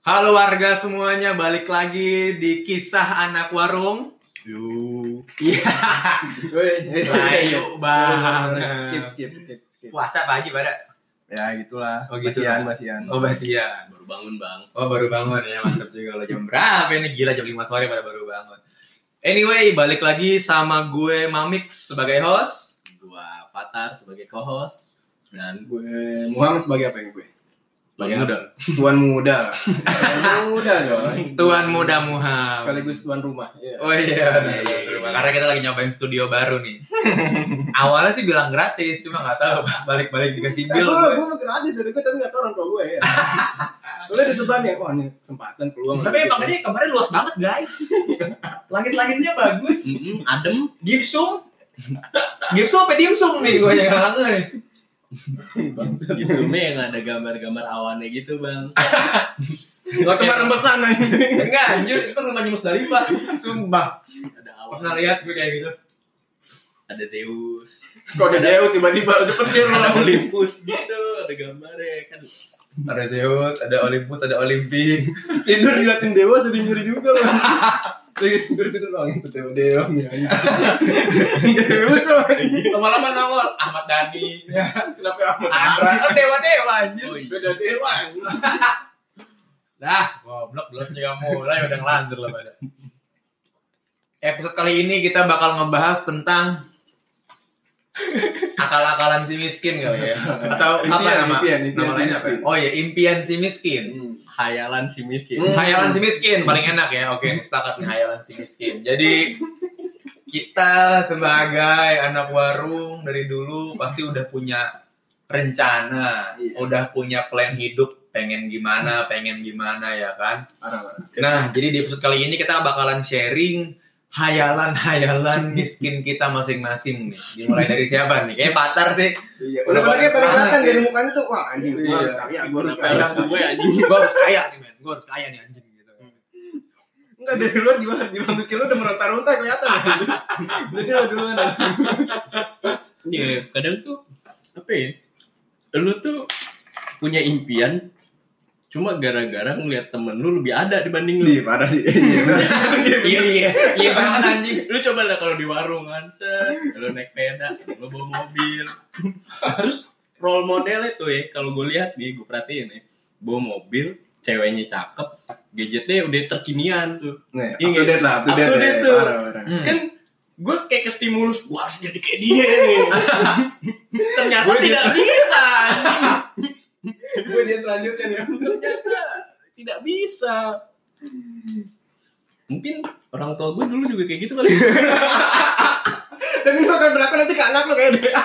Halo warga semuanya, balik lagi di kisah anak warung. Yuk. Iya, layu skip banget. skip skip skip. Puasa pagi pada. Ya gitulah. Oh, gitu. Basian basian. Oh basian. baru bangun bang Oh baru bangun ya mantap juga lo jam berapa ini gila jam 5 sore pada baru bangun. Anyway, balik lagi sama gue Mamix sebagai host. gua Fatar sebagai co-host dan Gue Muhammad sebagai apa yang gue? Tuan Iya. muda Tuan muda. Tuan muda dong. Tuan Muda Muham. Sekaligus tuan rumah. Iya. Oh iya, Iya, iya, iya. karena kita lagi nyobain studio baru nih. Awalnya sih bilang gratis, cuma nggak tahu pas balik-balik dikasih Nah, bill. kalau gue- gue makin aja dari gue tapi gak tau orang tua gue ya. Soalnya di sebelah nih, wah ini kesempatan peluang. Tapi emang dia kemarin luas banget guys. Langit-langitnya bagus. Mm-mm, adem Gipsum. Gipsum apa dimsum nih gue yang kangen. gitu yang ada gambar-gambar awannya gitu bang Gak tempat rembesan anjing. Enggak anjir, itu rumahnya Musdalifah. Sumpah. ada Pernah awan lihat gue kayak gitu. ada Zeus Kok ada jauh tiba-tiba udah petir ada lah. Olympus gitu ada gambarnya kan Ada Zeus, ada Olympus, ada Olimpik. Tidur diliatin dewa sering nyuri juga loh. Tidur tidur doang itu dewa dewa. iya, Dewa sama ini. Lama-lama nongol Ahmad Dhani. Kenapa amat? Andra, oh dewa-dewa anjir. oh iya Beda dewa. Nah, goblok belum juga mulai udah ngelantur lah pada. Episode kali ini kita bakal ngebahas tentang akal-akalan si miskin kali ya. Atau apa Iya. Impian, nama? impian, impian nama lainnya apa? si ya? miskin. Oh iya, impian si miskin. hayalan si gitu. miskin Hmm. Hayalan si miskin paling enak ya. Oke, sepakat nih hayalan si miskin. Jadi kita sebagai anak warung dari dulu pasti udah punya rencana, Iya. udah punya plan hidup, pengen gimana, pengen gimana ya kan. Parah parah. Nah, jadi di episode kali ini kita bakalan sharing hayalan-hayalan miskin kita masing-masing nih. Dimulai dari siapa nih? Kayaknya Patar sih. Iya. Udah kalau dia paling Parah kelihatan sih. dari mukanya tuh wah anjing. Gua Iya. harus kaya. Gua harus Kenapa kaya. harus gue anjing Gue Iya, harus kaya nih, men. Gue harus kaya nih anjing gitu. Enggak dari luar gimana? Gimana miskin lu udah meronta-ronta kelihatan. Jadi lu duluan. Iya, kadang tuh apa ya? Lu tuh punya impian cuma gara-gara ngeliat temen lu lebih ada dibanding lu. Di parah sih. Iya, bener. Iya, iya. Iya banget anjing. Lu coba lah kalau di warung kan, set, lu naik peda, lu bawa mobil. Terus role modelnya tuh ya, kalau gue lihat nih, gue perhatiin ya, bawa mobil, ceweknya cakep, gadgetnya udah terkinian tuh. Nih, Iya. up to date lah, up to Up date. to ya. date tuh. Parah, parah. Hmm. Kan gue kayak ke stimulus, gue harus jadi kayak dia nih. Ternyata Gua tidak bisa. Gue dia selanjutnya nih. ternyata tidak bisa. Mungkin orang tua gue dulu juga kayak gitu kali. Dan ini bakal berlaku nanti ke anak lu kayak dia.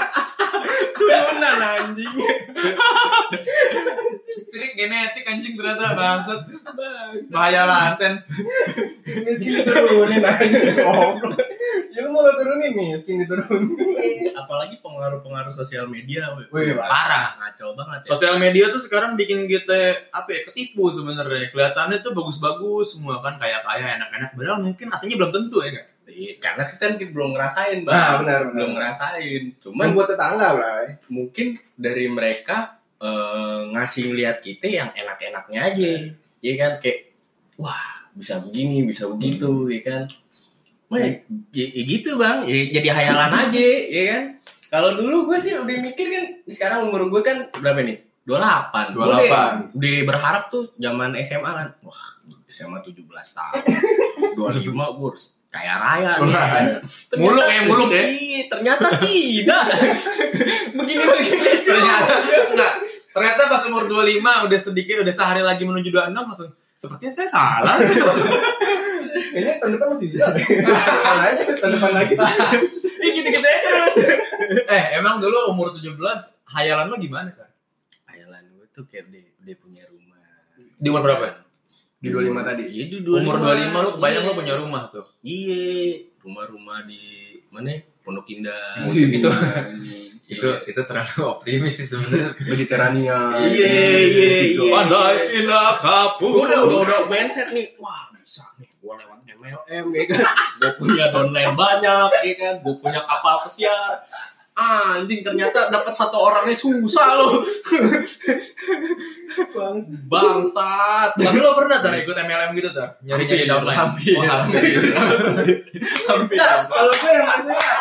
Turunan anjing. Sirik genetik anjing ternyata bangsat. Bahaya laten. Miskin diturunin aja. Goblok. Ya lu mau lu turunin miskin diturunin. Apalagi pengaruh-pengaruh sosial media. we. Wih, parah. Parah. Ngaco banget ya. Sosial media tuh sekarang bikin kita apa ya ketipu sebenarnya. Kelihatannya tuh bagus-bagus semua kan kayak kaya enak-enak. Padahal mungkin aslinya belum tentu ya enggak. Iya, Karena kita kan belum ngerasain, Bang. Nah, benar, benar. Belum ngerasain. Cuman Membuat tetangga lah. mungkin dari mereka eh, ngasih lihat kita yang enak-enaknya aja Iya. ya kan kayak wah bisa begini bisa Hmm. begitu ya kan Wah, ya, ya gitu bang Ya, jadi hayalan aja ya kan kalau dulu gue sih udah mikir kan sekarang umur gue kan berapa nih 28 Gua udah- 28. udah berharap tuh zaman SMA kan wah SMA 17 tahun 25 gue harus kaya raya nih ya kan. Ternyata- Muluk ya, muluk ya. Ih, ternyata tidak begini begini gitu, Ternyata enggak. Ternyata pas umur 25 udah sedikit udah sehari lagi menuju 26 langsung sepertinya saya salah. Kayaknya tahun depan masih bisa deh. Tahun aja, tahun depan lagi. Ih, gitu-gitu aja gitu, terus eh, emang dulu umur 17 hayalan lo gimana kan? hayalan gue tuh kayak udah, udah punya rumah Di umur berapa? Di 25 tadi. iya di Umur 25 lo kebayang lo punya rumah tuh. iya rumah-rumah di mana ya? Pondok Indah Iya, gitu. Anjing. Iya. itu terlalu optimis sih sebenarnya. Mediterania. Iya, iya, Gitu. iya. Andai ilah gue udah udah kapur. udah mindset nih wah bisa nih gue lewat MLM ya kan gue punya downline banyak ya kan gue punya kapal pesiar anjing ternyata dapat satu orangnya susah loh Bang, sih. bangsat Tapi lo pernah tar ikut MLM gitu tar? Nyari nyari Hampir, downline. hampir. Oh, hampir. hampir Nah, kalau gue yang maksudnya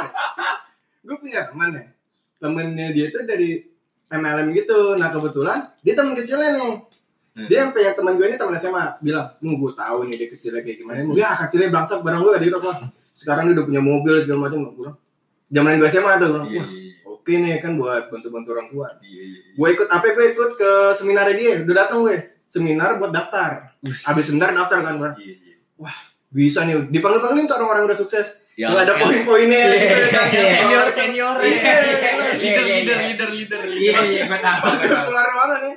gue punya teman ya temennya dia tuh dari MLM gitu nah kebetulan dia teman kecilnya nih Hmm. dia yang punya teman gue ini teman SMA bilang mau gue tahu nih dia kecilnya kayak gimana mau ya kecilnya bangsat barang gue ada itu apa sekarang dia udah punya mobil segala macam gue bilang zaman gue SMA tuh gue Oh, bilang, Iya, "Wah, oke nih kan buat bantu-bantu orang tua iya, iya, iya. gue ikut apa gue ikut ke seminar dia udah datang gue seminar buat daftar abis seminar daftar kan gue Iya, iya. bisa nih dipanggil panggilin tuh orang-orang udah sukses Ya, nggak ada enak. poin-poinnya Iya. gitu, yang- yang senior selalu- senior Iya, iya, iya. leader Iya, leader iya. leader leader Iya iya gue tahu. gue tahu. keluar ruangan ya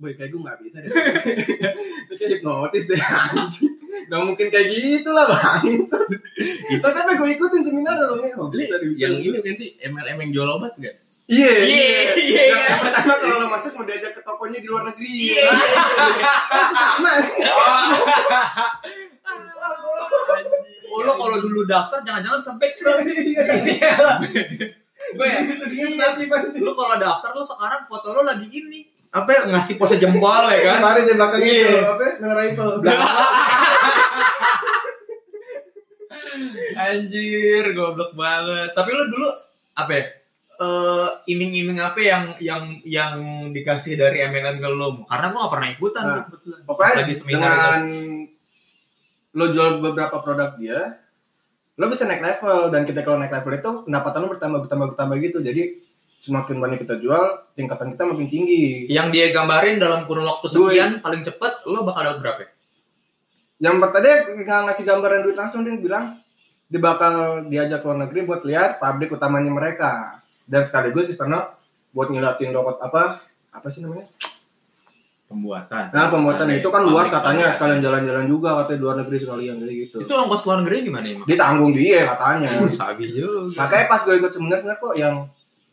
Boy, kayak gue gak bisa deh Ini kayak hipnotis deh anjing Gak mungkin kayak gitu lah bang Itu tapi gue ikutin seminar dong ya Gak Li, bisa dibikin. yang ini kan sih MLM yang jual obat nggak Iya Iya, iya, Yang iya. pertama kalau lo masuk mau diajak ke tokonya di luar negeri Iya, Ah, Itu sama Oh lo kalau dulu daftar jangan-jangan sebek lo. Iya. Gue ya. Sedikit pasti Lo kalau daftar lo sekarang foto lo lagi ini. Apa ya ngasih pose jempol ya kan? Kemarin di belakang Iya. itu Apa Dengan rifle Anjir, goblok banget. Tapi lo dulu apa ya? Eh, iming-iming apa yang yang yang dikasih dari MLM ke lo? Karena gua gak pernah ikutan Nah, tuh, kebetulan. Pokoknya lagi seminar itu. dengan lo jual beberapa produk dia, lo bisa naik level dan kita kalau naik level itu pendapatan lo bertambah bertambah bertambah gitu. Jadi semakin banyak kita jual, tingkatan kita makin tinggi. Yang dia gambarin dalam kurun waktu sekian paling cepet lo bakal dapat berapa? ya? Yang pertama dia nggak ngasih gambaran duit langsung dia bilang dia bakal diajak ke luar negeri buat lihat pabrik utamanya mereka dan sekaligus di sana buat ngeliatin dokot apa apa sih namanya? Pembuatan. Nah pembuatan Pabrik- itu kan luas pabrik- katanya pabrik. sekalian jalan-jalan juga katanya di luar negeri sekalian jadi gitu. Itu ongkos luar negeri gimana emang? Ditanggung dia katanya. Sabi juga. Iya. Makanya pas gue ikut seminar seminar kok yang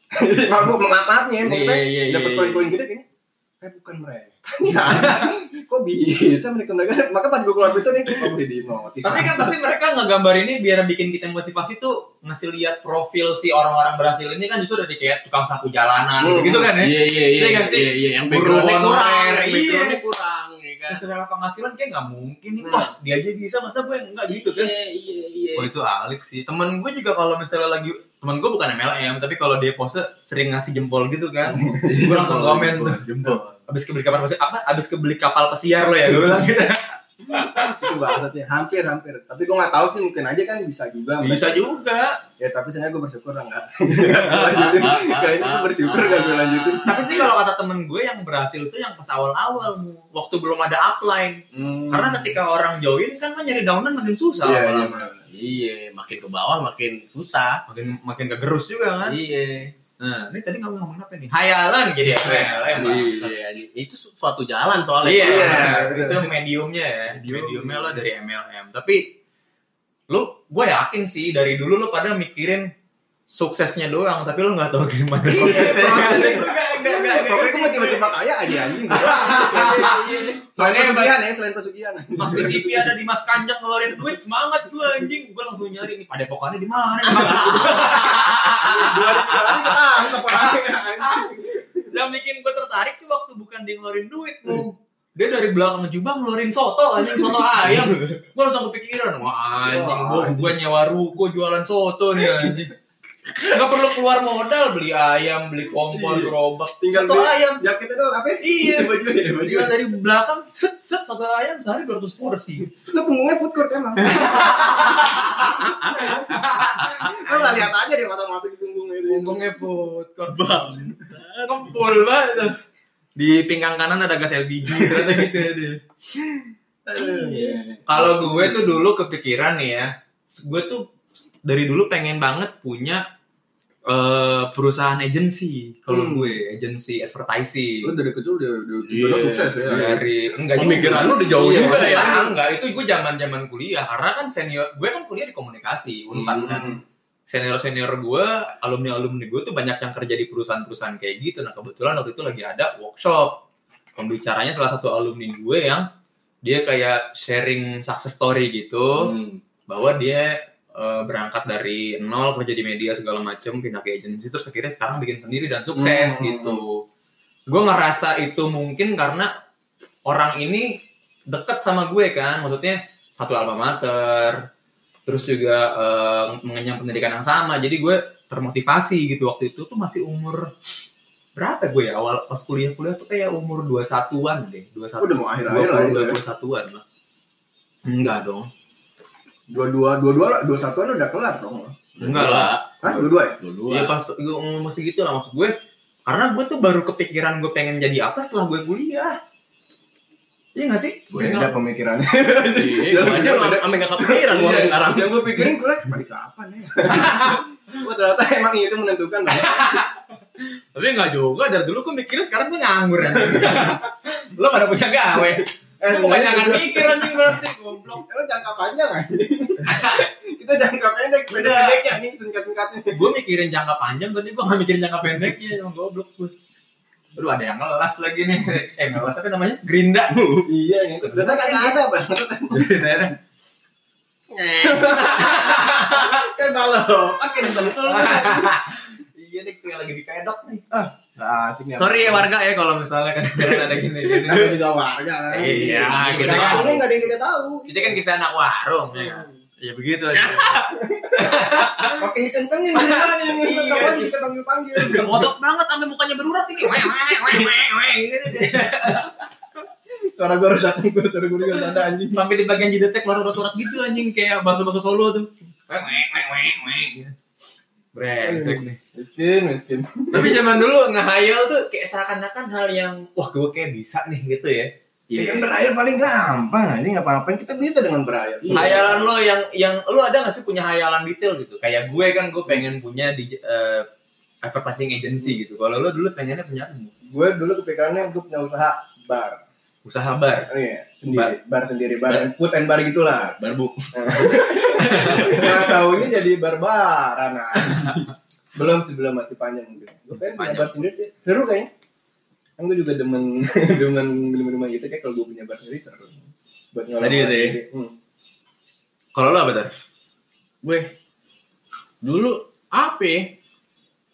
aku mengamatnya Iya, maksudnya iya, iya, dapat iya. poin-poin gede kayaknya. Eh bukan mereka. Ya, kok bisa mereka mereka? Maka pas gue keluar itu nih, kok gue di notis. Tapi kan pasti mereka ngegambar ini biar bikin kita motivasi tuh ngasih lihat profil si orang-orang berhasil ini kan justru dari kayak tukang sapu jalanan Hmm. gitu kan ya. iya iya Iya iya nggak sih? iya iya yang Guru backgroundnya kurang honorer, yang iya. backgroundnya kurang ya kan Secara penghasilan kayak nggak mungkin nih. Nah. Wah, dia aja bisa masa gue enggak gitu kan. iya iya iya Oh itu alik sih. Temen gue juga kalau misalnya lagi temen gue bukan MLM tapi kalau dia pose sering ngasih jempol gitu kan. gue langsung komen tuh. jempol Abis kebeli kapal pesiar apa? Abis kebeli kapal pesiar lo ya gue bilang gitu. itu bahasanya hampir hampir. Tapi gue nggak tahu sih mungkin aja kan bisa juga. Bisa juga. Ya tapi saya gue bersyukur lah nggak. Gue lanjutin. Kayak ini gue bersyukur gak gue lanjutin. Tapi sih kalau kata temen gue yang berhasil tuh yang pas awal-awal Mu. waktu belum ada upline. Karena kan ketika orang join kan kan nyari downline makin susah Iya, lama-lama. iya makin ke bawah makin susah Makin makin kegerus juga kan. iya Nah, ini tadi kamu ngomong apa nih? Hayalan jadi MLM. Pak. iya itu su- suatu jalan soalnya Iya, Iya, itu mediumnya ya. Medium. Mediumnya lo dari MLM. Tapi lu gue yakin sih dari dulu lu pada mikirin suksesnya doang, tapi lu nggak tahu gimana Iya, prosesnya. Pokoknya gue tiba-tiba kaya aja anjing. Selain Makanya pesugihan ya, selain pesugihan. Pas di TV ada Dimas Kanjeng ngeluarin duit, semangat gue anjing. Gue langsung nyari nih pada pokoknya di mana. nih, maksud gua. Dua hari ah, ketangkep orangnya, anjing. Yang bikin gue tertarik tuh waktu bukan dia ngeluarin duit, Mu. Hmm. Dia dari belakang jubah ngeluarin soto anjing, soto ayam. Gue langsung kepikiran, wah anjing, Wah, gue gue nyewa ruko jualan soto nih anjing. Gak perlu keluar modal beli ayam, beli kompor, gerobak, Tinggal soto beli- ayam. jaketnya doang apa ya? Iya. baju ya baju Tinggal dari belakang, set, set, soto ayam sehari 200 porsi. lu punggungnya food court emang lu nggak lihat aja deh orang masuk di punggungnya itu Punggungnya food korban. Kempul banget. Di pinggang kanan ada gas LPG, ternyata gitu ya dia. Iya. Kalau gue tuh dulu kepikiran nih ya, gue tuh dari dulu pengen banget punya eh, perusahaan agensi. Kalau Hmm. gue agensi lu advertising. dari kecil udah udah Iya. udah sukses ya Dari enggak pemikiran juga. lu udah jauh Iya, juga ya Enggak, enggak, itu gue zaman zaman kuliah karena kan senior gue kan kuliah di komunikasi unpad kan Hmm. senior senior gue alumni alumni gue tuh banyak yang kerja di perusahaan perusahaan kayak gitu nah kebetulan waktu itu lagi ada workshop pembicaranya salah satu alumni gue yang dia kayak sharing success story gitu Hmm. bahwa dia eh, eh, berangkat dari nol kerja di media segala macem pindah ke agency terus akhirnya sekarang bikin sendiri dan sukses Hmm. gitu gue ngerasa itu mungkin karena orang ini deket sama gue kan maksudnya satu alma mater terus juga eh, mengenyam pendidikan yang sama jadi gue termotivasi gitu waktu itu tuh masih umur berapa gue ya awal pas kuliah kuliah tuh kayak umur 21-an deh 21 udah mau akhir akhir lah 20 ya. 21-an lah. Enggak dong. dua dua dua dua lah dua satuan udah kelar dong Enggak lah. Hah, dua dua ya Dua-dua. Ya pas gue ngomong masih gitu lah maksud gue. Karena gue tuh baru kepikiran gue pengen jadi apa setelah gue kuliah. Iya gak sih? Gue enggak. pemikirannya Iya, gue aja Beda. sampe enggak kepikiran gue Iya, sekarang. yang gue pikirin kuliah balik kapan ya Wah Oh, ternyata emang itu menentukan Bang. Tapi enggak juga. Dari dulu gue mikirnya sekarang gue nganggur. anjing. Lo pada punya gawe. eh Lo kebanyakan mikir anjing berarti. Goblok. Lo jangka panjang anjing. Kita jangka pendek, beda Udah. pendeknya anjing singkat-singkatnya. Gue mikirin jangka panjang tapi gue gak mikirin jangka pendeknya. Emang goblok gue. Aduh ada yang ngelas lagi nih. Eh ngelas apa namanya? Gerinda. iya, yang itu. Biasanya kagak ada, Bang. Gerinda. ya. Kan balok, pakai disentul. Ah. Iya nih kayak lagi di pedok nih. Nah, asik Ah, nih. Sorry ya warga ya kalau misalnya kan ada gini gini. Namanya juga warga. kan. Iya, kita kita kan. kan enggak ada yang kita tahu. Kita kan kisah anak warung ya. kan? Ya begitu aja. Makin dikencengin gimana ini? Iya. Kapan kita panggil-panggil? Ngotot banget sampai mukanya berurat ini. Weh weh weh weh weh gitu deh. Suara gue harus datang, gue suara gue harus ada anjing. Sampai di bagian jidatnya keluar urat-urat gitu anjing kayak bahasa-bahasa Solo tuh. Weh weh weh weh weh. gitu. Brengsek nih. Miskin, miskin. Iya, Tapi zaman dulu ngehayal tuh kayak seakan-akan hal yang wah gue kayak bisa nih gitu ya. Ya kan berair paling gampang, ini ngapa-ngapain kita bisa dengan berair. Iya. Hayalan lo yang yang lo ada nggak sih punya hayalan detail gitu? Kayak gue kan gue pengen punya di eh, advertising agency gitu. Kalau lo dulu pengennya punya apa? Gue dulu kepikirannya gue punya usaha bar. usaha bar. Oh iya, sendiri, bar, sendiri, bar, and food and bar gitulah. Barbuk. Nah, tahunnya jadi barbaran. nah. Belum sebelum masih panjang mungkin. Gue pengen punya Masih bar sendiri sih. Seru kayaknya. Kan gue juga demen demen minum-minuman gitu kayak kalau gue punya bar sendiri seru. Buat ngolah. Tadi gitu ya? Hmm. Kalau lo apa tuh? Gue dulu apa ya?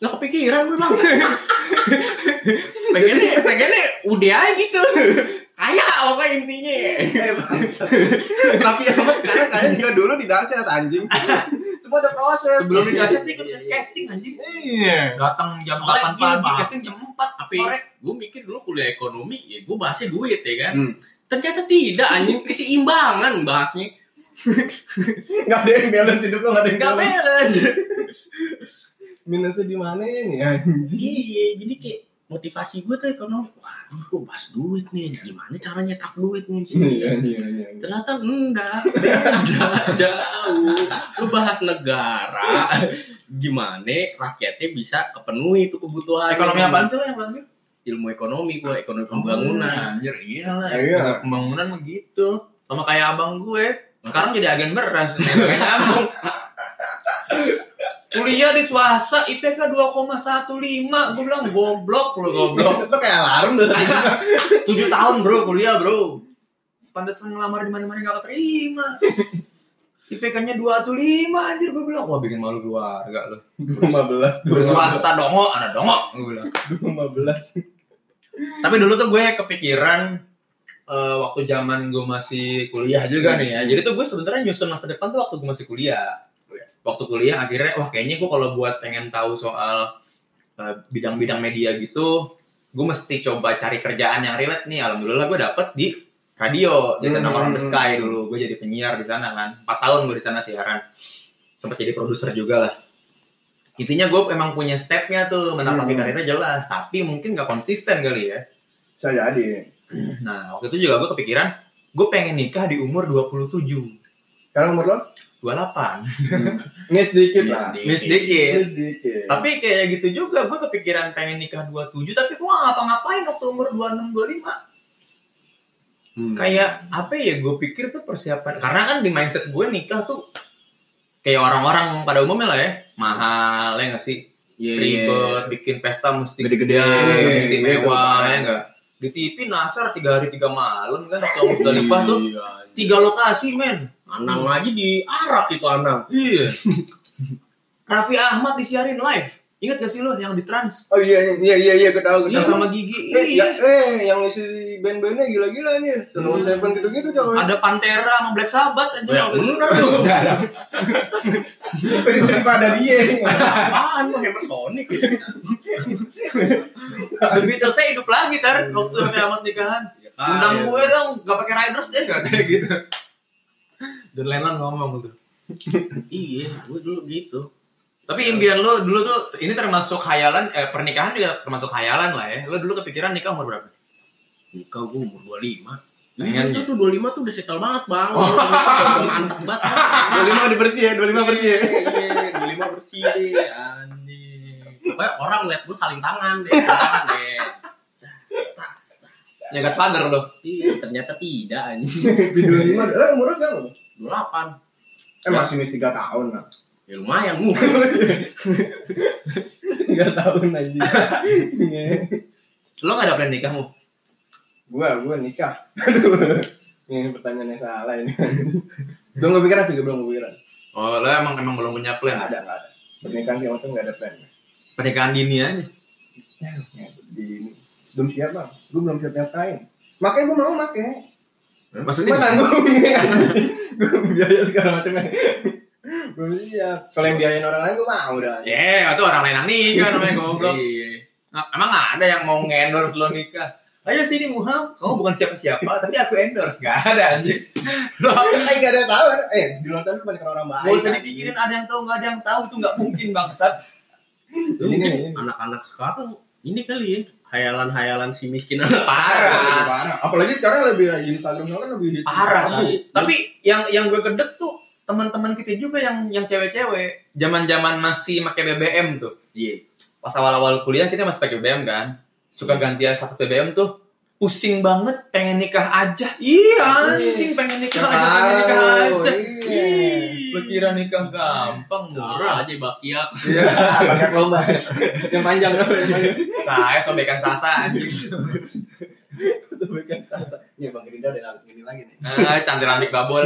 Nggak kepikiran gue bang. pengennya pengennya udah aja gitu. Kaya apa intinya? Eh, bangsat. Tapi yang sekarang kayaknya juga dulu di dahsyat anjing. Semua ada proses. Sebelum Iya. di dahsyat dahsyat nih kan casting anjing. Iya. Datang jam Soalnya 8 gini, pagi, Bang. casting jam 4 Tapi sore. gue mikir dulu kuliah ekonomi, ya gue bahasnya duit ya kan. Hmm. Ternyata tidak anjing keseimbangan bahasnya. Enggak ada yang balance hidup lo, enggak ada yang Gak balance. beres. Minusnya di mana ini? Ya? Iya, jadi kayak motivasi gue tuh ekonomi. Wah, gue bahas duit nih. Gimana caranya tak duit nih? sini? Iya, iya, iya. Ternyata enggak, beda jauh. Lu bahas negara, gimana rakyatnya bisa kepenuhi itu kebutuhan. Ekonomi apaan sih lo yang bangun? Ilmu ekonomi gue, ekonomi pembangunan. Anjir, iya lah. Iya. Pembangunan mah gitu. Sama kayak abang gue. Sekarang jadi agen beras. Kayak nyambung. Kuliah di swasta IPK 2,15 Gue bilang goblok lo goblok Lo kayak alarm tuh. 7 tahun bro kuliah bro Pantesan ngelamar di mana mana gak keterima IPK-nya 2 atau 5 anjir gue bilang Wah bikin malu keluarga lo 15, Gue swasta dongo, anak dongo Gue bilang 15. Tapi dulu tuh gue kepikiran eh, waktu zaman gue masih kuliah juga nih ya. Jadi tuh gue sebenarnya nyusun masa depan tuh waktu gue masih kuliah. Waktu kuliah akhirnya wah kayaknya gue kalau buat pengen tahu soal eh, bidang-bidang media gitu, gue mesti coba cari kerjaan yang relate nih. Alhamdulillah gue dapet di radio di Hmm. nama Around the Sky dulu. Gue jadi penyiar di sana kan. 4 tahun gue di sana siaran. Sempat jadi produser juga lah. Intinya gue emang punya stepnya tuh menapaki Hmm. karirnya jelas, tapi mungkin gak konsisten kali ya. Bisa jadi. Nah, waktu itu juga gue kepikiran, gue pengen nikah di umur 27, Sekarang umur lo? 28. Ini Iya. sedikit lah. iya. Miss dikit. Ini sedikit. Tapi kayak gitu juga, gue kepikiran pengen nikah 27, tapi gue nggak ngapa-ngapain waktu umur 26, 25. Hmm. Kayak apa ya, gue pikir tuh persiapan. Karena kan di mindset gue nikah tuh kayak orang-orang pada umumnya lah ya. Mahal, ya nggak sih? Iya, Ribet, bikin pesta mesti Gede-gedean. gede, mesti Iya, mewah, ya iya. nggak? Di TV nasar 3 hari 3 malam kan, waktu umur 25 tuh. Tiga lokasi, men. Iya, Anang aja diarak itu Anang. Iya. Raffi Ahmad disiarin live. Ingat gak sih lo yang di trans? Oh iya iya iya iya gue tahu gue Yang sama tahu. Gigi. Eh, ya, Iya. eh yang isi band-bandnya gila-gila nih. Solo Hmm. Seven gitu-gitu coy. Ada Pantera sama Black Sabbath aja. Ya bener kan lu. Daripada dia. Apaan lu hammer Sonic? The Beatles saya hidup lagi tar waktu Raffi Ahmad nikahan. Undang gue dong, gak pakai riders deh katanya gitu. Dan Lennon ngomong gitu. Iya, gue dulu gitu. Tapi impian lo dulu tuh ini termasuk khayalan eh, pernikahan juga termasuk khayalan lah ya. Lo dulu kepikiran nikah umur berapa? Nikah gue umur 25. Pengen Pengen ya? Iya, tuh 25 tuh udah setel banget bang Oh. Udah Mantep banget 25 udah bersih ya, 25 bersih ya. Iya, 25 bersih deh Anjing Pokoknya orang liat gue saling tangan deh saling tangan deh Tas, tas, tas. Nyegat pagar lo. Iya, ternyata tidak anjing Di 25, eh umur lu sekarang berapa? 28 Eh masih mesti 3 tahun lah. Ya lumayan gue 3 tahun aja. Lo gak ada plan nikahmu? Iya. gua gua nikah. Aduh. Ini pertanyaannya salah ini. Belum kepikiran sih, gua belum kepikiran. Oh, lo emang emang belum punya Nggak plan. ada, nggak ada. Pernikahan sih waktu nggak ada plan. Pernikahan dini aja. Ya, di belum siap bang, gua belum siap nyatain. Makanya gua mau makanya. Maksudnya Cuma nanggung Gue biaya segala macamnya Belum siap Kalau yang biayain orang lain gue mau udah Ya, atau orang lain yang nikah namanya goblok. Iya Nah, emang nggak ada yang mau endorse lo nikah. Ayo sini Muham, kamu bukan siapa-siapa, tapi aku endorse. Gak ada anjing. Lo Eh gak ada yang tahu Eh di luar sana kebanyakan orang baik Gak usah dipikirin ada yang tahu nggak ada yang tahu itu nggak mungkin bangsat. Ini nih ini. Anak-anak sekarang ini kali ya Hayalan-hayalan si miskin anak Parah. Parah. Apalagi sekarang lebih Instagram kan lebih hits. Parah. Parah. Bu. Tapi yang yang gue kedek tuh teman-teman kita juga yang yang cewek-cewek zaman-zaman masih pakai BBM tuh. Iya Pas awal-awal kuliah kita masih pakai BBM kan. Suka gantian status BBM tuh pusing banget pengen nikah aja. Iya anjing pengen nikah aja pengen nikah aja. Ih, Lu kira nikah gampang murah. Murah Iya. aja Iya. bakiak Banyak lomba Yang panjang dong Yang panjang Saya sobekan sasa anjing. Sebagian sasa. Iya bang Gerindra udah lagi- gini lagi nih Ah, cantik babol.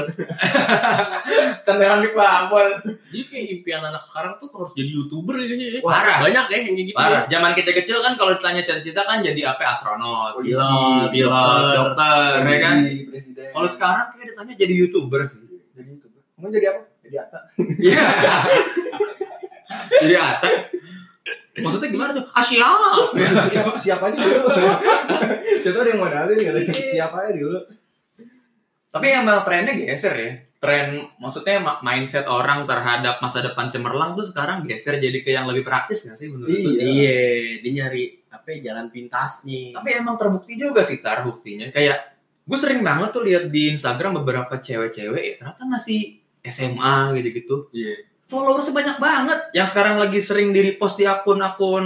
cantik babol. Jadi kayak impian anak sekarang tuh harus jadi youtuber ya sih. Parah. Banyak ya yang kayak gitu. Parah. Zaman kita kecil kan kalau ditanya cita-cita kan jadi apa astronot, Polisi, pilot, pilot, dokter. dokter, ya kan. Polisi, Iya Presiden Kalau sekarang kayak ditanya jadi youtuber sih. Jadi youtuber. Mau jadi apa? Jadi apa? Iya. jadi apa? Maksudnya gimana tuh? Ah, Asia. siapa, siapa aja dulu siapa ada yang modalin gitu Iya. siapa aja dulu Tapi emang trennya geser ya. Tren maksudnya ma- mindset orang terhadap masa depan cemerlang tuh sekarang geser jadi ke yang lebih praktis nggak sih menurut lu? Iya. Iya, dia nyari apa ya, jalan pintasnya. tapi emang terbukti juga sih tar buktinya kayak gue sering banget tuh lihat di Instagram beberapa cewek-cewek ya ternyata masih SMA gitu-gitu Iya. followersnya banyak banget yang sekarang lagi sering di repost di akun-akun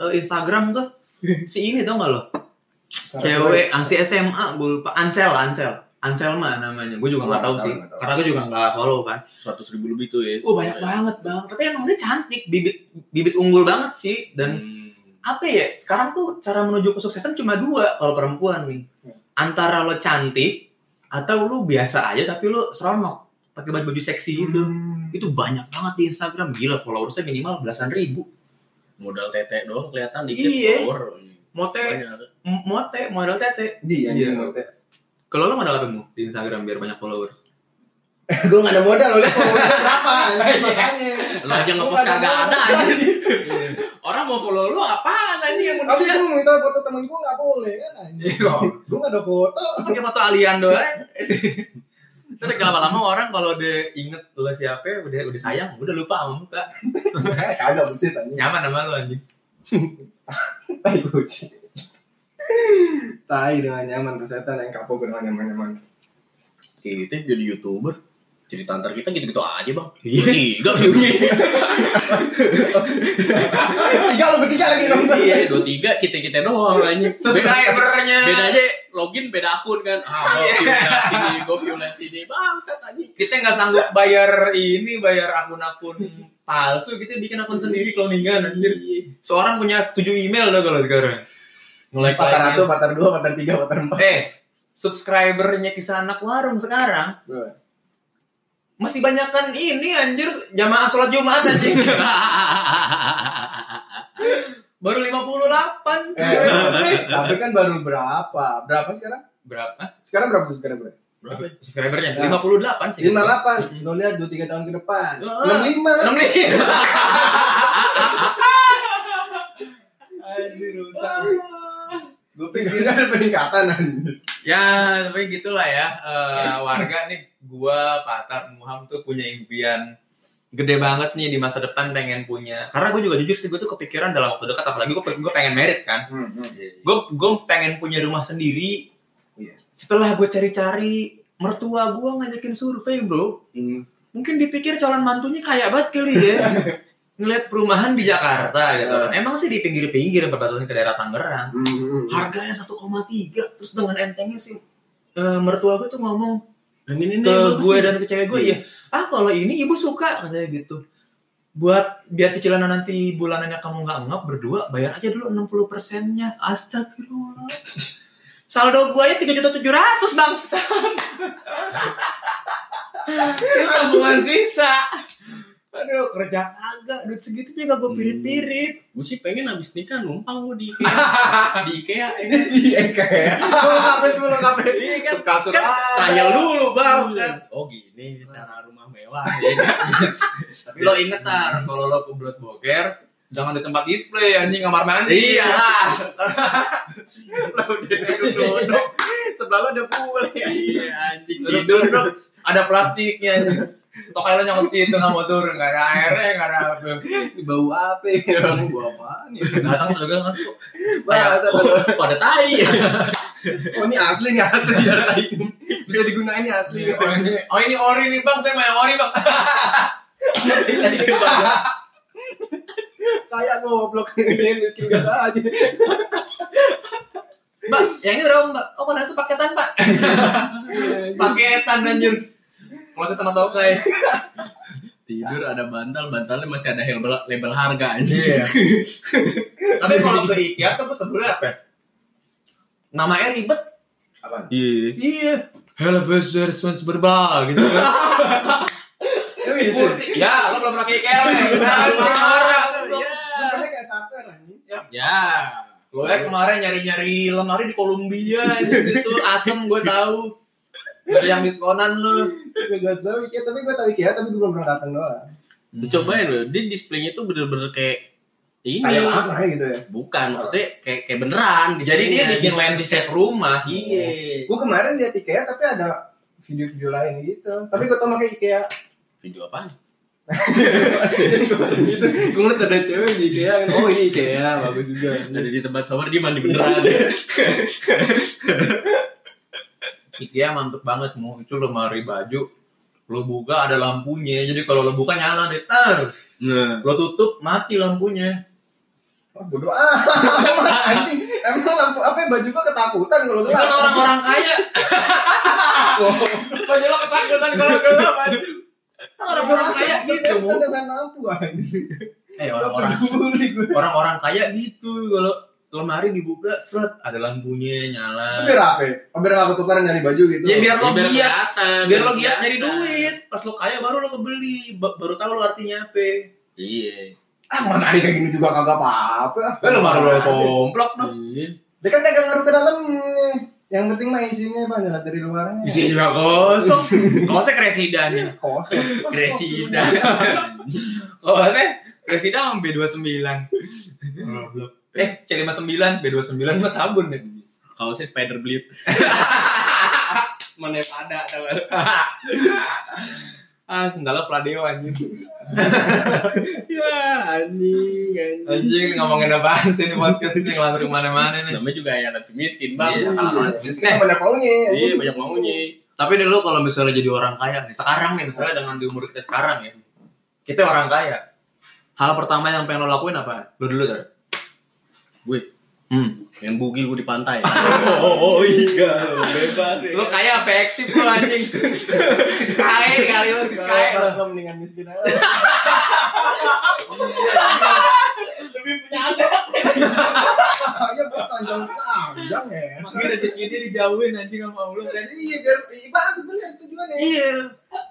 eh, Instagram tuh si ini tau gak lo cewek ah, asli SMA gue lupa Ansel Ansel Anselma namanya gue juga nggak tahu sih nggak tahu. karena gue juga nggak follow kan Seratus ribu lebih tuh ya. oh banyak banget bang tapi emang dia cantik bibit bibit unggul banget sih dan Hmm. apa ya sekarang tuh cara menuju kesuksesan cuma dua kalau perempuan nih Hmm. antara lo cantik atau lo biasa aja tapi lo seronok pakai baju baju seksi gitu Hmm. itu banyak banget di Instagram gila followersnya minimal belasan ribu modal tete doang kelihatan dikit Iya. follower. mote Banyak. m- mote modal tete dia Iya. yang ngerti kalau lo modal apa mu di Instagram biar banyak followers gue gak ada modal lo liat followernya berapa anjing, makanya Iya. Lu aja ngepost kagak ada aja. Iya. Orang mau follow lu apaan aja yang mau tapi dilihat? gue minta foto temen gue gak boleh kan Iya. anjing gue gak ada foto Lo pakai foto alien doang Terus lama-lama orang kalau udah inget lo siapa, udah udah sayang, udah lupa sama muka. Eh, kagak bersih tanya Nyaman sama lo anjing. tai kucing tai dengan nyaman kesehatan yang kapok dengan nyaman nyaman Kita jadi youtuber. Cerita antar kita gitu-gitu aja bang. Iya. Tiga view-nya. tiga lo bertiga lagi dong Iya, dua tiga kita kita doang aja. Subscribernya. bedanya login beda akun kan ah gue view liat sini gue view liat sini Ah, bangsat anjing kita nggak sanggup bayar ini bayar akun-akun palsu kita bikin Iya. akun sendiri cloningan anjir seorang punya 7 email dah kalau sekarang mulai patar satu kliennya. patar dua patar tiga patar empat eh subscribernya kisah anak warung sekarang masih banyakan ini anjir jamaah sholat Jumat anjing. Baru 58 Eh, subscriber. tapi kan baru berapa? Berapa sekarang? Berapa? Sekarang berapa subscriber? Berapa? Subscribernya Ya. 58 sih. 58. Lo lihat 2 3 tahun ke depan. Ah. 65. 65. Anjir, rusak. Gue pikir ada peningkatan anjir. ya, tapi gitulah ya. Eh, warga nih gua Patar Muham tuh punya impian gede banget nih di masa depan pengen punya. Karena gue juga jujur sih gue tuh kepikiran dalam waktu dekat apalagi gue gue pengen merit kan. gue gue pengen punya rumah sendiri Iya. setelah gue cari-cari mertua gue ngajakin survei bro Hmm. mungkin dipikir calon mantunya kaya banget kali ya ngeliat perumahan di Jakarta gitu kan. emang sih di pinggir-pinggir perbatasan ke daerah Tangerang harganya 1,3 terus dengan entengnya sih eh, mertua gue tuh ngomong Yang ini ke gue dan ke cewek gue Iya. ya ah kalau ini ibu suka katanya gitu buat biar cicilan nanti bulanannya kamu nggak ngap berdua bayar aja dulu 60 persennya astagfirullah saldo gue aja tiga juta tujuh ratus bangsa itu tabungan sisa aduh kerja kagak duit segitu juga gue pirit-pirit Gue sih pengen abis nikah numpang gue di IKEA. di IKEA ini. Jadi Iya, kayak Belum kafe sebelum kafe. Iya kan? Kasur Kan ada. trial dulu bang kan Hmm. Oh gini cara rumah mewah. Tapi lo inget tar, kalau lo kebelet boker, jangan di tempat display anjing kamar mandi. Iyalah. Lo udah duduk-duduk. Sebelah lo udah pulih. Iya anjing tidur dong. Ada plastiknya anjing. Tokai lo nyangkut situ nggak mau turun, nggak ada airnya, nggak ada apa. Ini Bau apa? ya? Bau apa nih? Datang juga kan Nah, Wah, kayak satu- pada tai. Oh ini asli nih asli biar lain. Bisa digunain nih asli. Oh ini, oh ini ori nih bang, saya mau yang ori bang. Kayak goblok ini miskin gak aja. Mbak, yang ini berapa mbak? Oh kalau itu paketan mbak. Paketan anjir. Kalau saya sama tokai. Tidur ada bantal, bantalnya masih ada label, label harga anjing. Iya. Tapi kalau ke IKEA tuh sebenarnya apa? ya? Namanya ribet. Apaan? Iya. Iya. Helvezer Swans berba gitu kan. Kursi. Ya, lo belum pernah ke IKEA. Le. Nah, lo marah, lo belum. Bentuknya Iya. kayak starter anjing. Ya. Gue kemarin nyari-nyari lemari di Kolombia itu asem gue tahu. Dari yang diskonan lu. Gue gak tau Ikea, tapi gue tau Ikea, tapi gue belum pernah datang doang. Hmm. Lu ya. cobain loh, dia displaynya tuh bener-bener kayak ini. Kayak apa ya gitu ya. Bukan, maksudnya kayak kayak beneran. Jadi dia displaynya. bikin landscape rumah. Iya. Gue kemarin liat Ikea, tapi ada video-video lain gitu. Tapi gue tau pakai Ikea. Video apa? Jadi kemarin gitu, gue ngeliat ada cewek di Ikea. kan, Oh ini Ikea, bagus juga. Ada di tempat shower dia mandi beneran. IKEA mantep banget mu. Itu lemari baju. Lo buka ada lampunya. Jadi kalau lo buka nyala deh. Ter. Nah. Lo tutup mati lampunya. Wah bodo ah. Anjing, emang lampu apa ya, baju gue ketakutan kalau gelap. Kan orang-orang kaya. Baju lo ketakutan kalau gelap. anjing. Kan Orang-orang kaya gitu mu. Kan dengan lampu anjing. Eh Gak orang-orang peduli gue. orang-orang kaya gitu kalau lemari dibuka seret ada lampunya nyala Biar apa? ya? Oh, biar aku tukar nyari baju gitu. ya biar lo biar giat kelihatan, biar lo giat nyari kelihatan. duit pas lo kaya baru lo kebeli ba- baru tahu lo artinya apa Iya. Ah, mau nari kayak gini juga kagak apa-apa. komplok Iya. Dia kan kagak ngaruh ke dalamnya. Yang penting mah isinya Pak, nyala dari luarnya. Isinya juga kosong kalau saya kresidannya kosong. Kresida. Iya, kalau saya kresidan sama B29 eh C59 B29 mah sabun ya Kalau saya spider blip. Mana pada ah sendalnya Pladeo anjing Ya, anjing, anjing. anjing ngomongin apaan sih ini podcast ini ngelantur kemana-mana nih Namanya juga ya nafsu miskin, Bang. Iya, Iya, kalau- Isinya banyak maunya. banyak maunya. Tapi dulu kalau misalnya jadi orang kaya nih, sekarang nih misalnya dengan di umur kita sekarang ya, kita orang kaya. Hal pertama yang pengen lo lakuin apa? Lo dulu tadi. Gue Hmm. yang bugil gue di pantai. oh, iya, bebas. Lo kaya efektif lo anjing. Si Sky kali lo, si Sky lo. Kalau mendingan miskin aja. lebih punya anak. Kayaknya panjang-panjang ya. Makanya rezeki dia dijauhin anjing sama Allah kan. Iya, biar ibarat tuh bener tujuannya. Iya.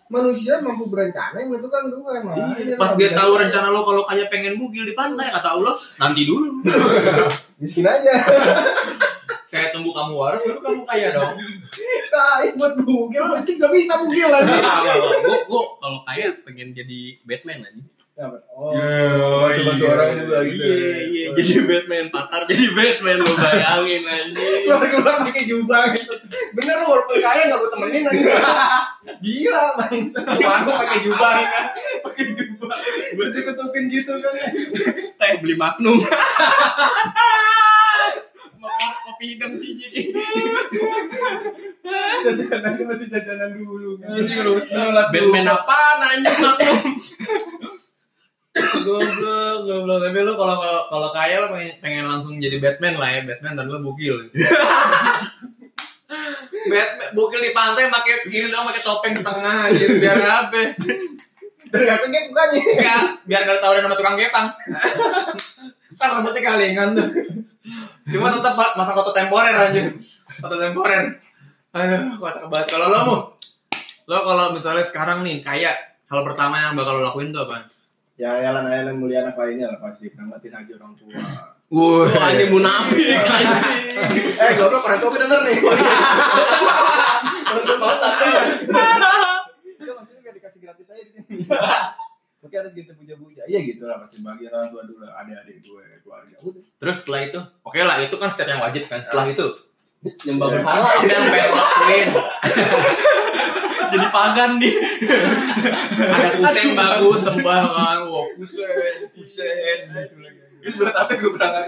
manusia mampu berencana yang menentukan Tuhan Nah, Iya, iya, pas nah, dia bener. tahu rencana lo kalau kayak pengen bugil di pantai kata Allah nanti dulu miskin aja saya tunggu kamu waras baru kamu kaya dong kain buat bugil miskin gak bisa bugil Iya, lagi gue gue kalau kaya pengen jadi Batman aja oh oh, bantu-bantu orang juga gitu. iya iya jadi Batman patar jadi Batman lo bayangin aja keluar-keluar pakai jubah gitu bener lu walaupun kaya gak gue temenin aja gila bangsa aku pakai jubah ya kan pakai jubah gue tutupin gitu kan teh beli Magnum Mau kopi hidang sih jadi jajanan gue masih jajanan dulu kan Iya, Batman apa nanya Magnum goblok goblok tapi lo kalau kalau kalau kaya lo pengen, pengen langsung jadi Batman lah ya Batman dan lo bugil Batman bugil di pantai pakai gini dong pakai topeng ke tengah gitu biar apa ternyata iya. kayak bukannya Enggak, biar gak ditawarin sama tukang gepang kan rambutnya kalingan tuh cuma tetap Pak, masa foto temporer aja foto temporer aduh kocak banget kalau lo mau lo kalau misalnya sekarang nih kaya hal pertama yang bakal lo lakuin tuh apa? ya elan elan mulia anak lainnya lah pasti nangatin aja orang tua Wah, Wah, iya. ini munafik anjing. eh goblok orang tua gue denger nih orang tua mau Iya, maksudnya gak dikasih gratis aja di sini Oke harus gitu puja-puja Iya gitu lah pasti bagi orang tua dulu Adik-adik gue, keluarga Udah Terus setelah itu, oke lah itu kan step yang wajib kan. Setelah itu, Nyembah Iya. berhala apa yang pengen lo lakuin? jadi pagan di Ada kusen bagus, sembah kan. Wow, kusen, kusen. gitu Terus buat apa gue berangkat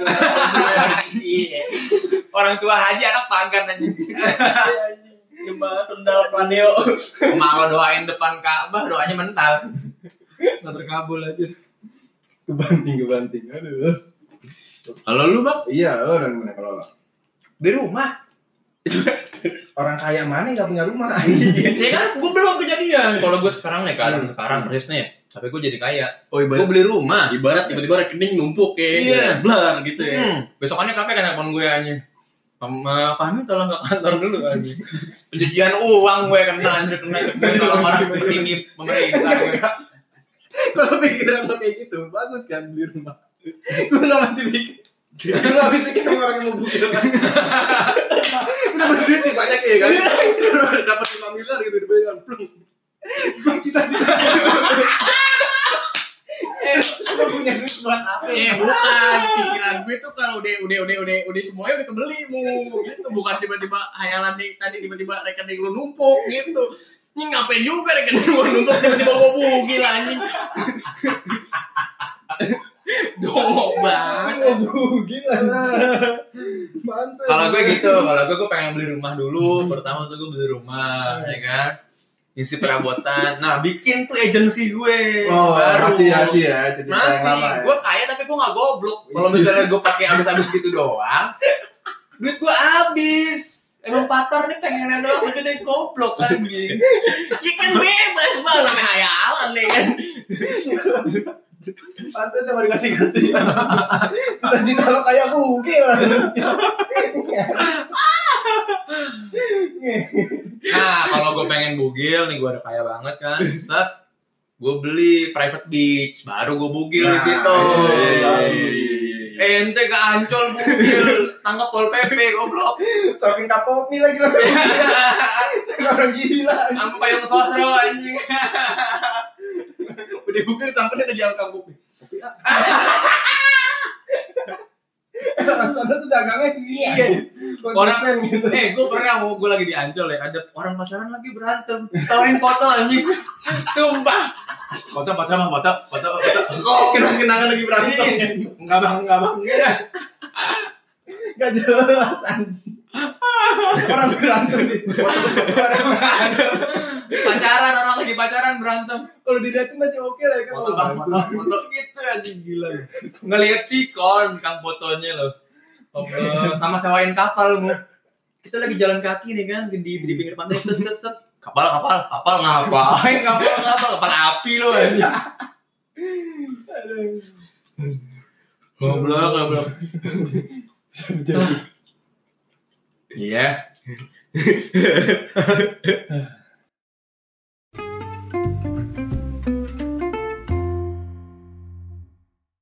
Iya. Orang tua haji anak pagan aja. Iya, nyembah sendal paneo Emak lo doain depan Ka'bah, doanya mental. Gak terkabul aja. Kebanting, kebanting Aduh kalau lu bang Iya lo orang mana kalau lo Di rumah. Orang kaya mana yang gak punya rumah Iya Ya kan, gue belum kejadian. Hmm. Kalau gue sekarang nih, keadaan sekarang persisnya. Tapi gue jadi kaya. oh Gue beli rumah. ibarat tiba-tiba rekening numpuk ya Iya. blar gitu ya Hmm, besokannya kafe kan telepon gue aja. Mama Fahmi tolong ke kantor dulu aja. Pencucian uang gue kena anjir kena gue tolong orang tinggi pemerintah. gue. Kalau pikiran lo kayak gitu Bagus kan beli rumah Gue gak masih mikir Gue gak habis mikir sama orang yang mau bukit Udah berduit nih banyak ya kan Udah Dapat 5 miliar gitu dibelikan Plung Gue cita-cita Eh, lo punya duit buat apa Eh bukan pikiran gue tuh kalau udah udah udah udah udah semuanya udah kebeli mu gitu bukan tiba-tiba hayalan nih tadi tiba-tiba rekening lu numpuk gitu ini ngapain juga rekening gua numpuk tiba-tiba gua bugil anjing dongok banget Gue bugil Mantap Kalau gue gitu, kalau gue gue pengen beli rumah dulu. Pertama tuh gue beli rumah, ya kan? Isi perabotan. Nah, bikin tuh agensi gue Oh, baru. masih masih ya, cerita yang Masih, lama ya. gue kaya tapi gue gak goblok. Kalau misalnya gue pakai habis-habis gitu doang, duit gue habis. Emang patar nih pengennya doang, tapi dia goblok anjing. ya kan bebas bang namanya hayalan nih kan Pantes sama dikasih kasih. Cita-cita lo kayak bugil. Nah, kalau gue pengen bugil nih, gue udah kaya banget kan. Set, gue beli private beach, baru gue bugil di Nah, situ. iya, iya, Ente ke Ancol bugil, tangkap pol pp goblok. Saking kapok nih lagi lo. Iya. Saking orang gila. Sampai payung sosro anjing. Udah bugil sampai ada jalan kapok. Orang sana tuh dagangnya gini. ya? Iya. Konsisten gitu. Eh, gue pernah mau gue lagi di Ancol ya, ada orang pacaran lagi berantem, tawarin foto anjing. Sumpah. Foto, foto, Bang, foto, foto, foto. Kok Kenang-kenangan lagi berantem. Enggak bang, enggak bang. Iya. Gak jelas anjing. Orang berantem nih. Pacaran orang lagi pacaran berantem. Kalau dilihatin masih oke lah ya kan. Foto bang, foto, foto gitu anjing gila. Ngelihat sikon kang fotonya loh. Allah, sama sewain kapal mu. Kita lagi jalan kaki nih kan di di pinggir pantai set set set. Kapal, kapal, kapal ngapain? Kapal, kapal, kapal api loh anjing. Aduh. Goblok, goblok. Iya.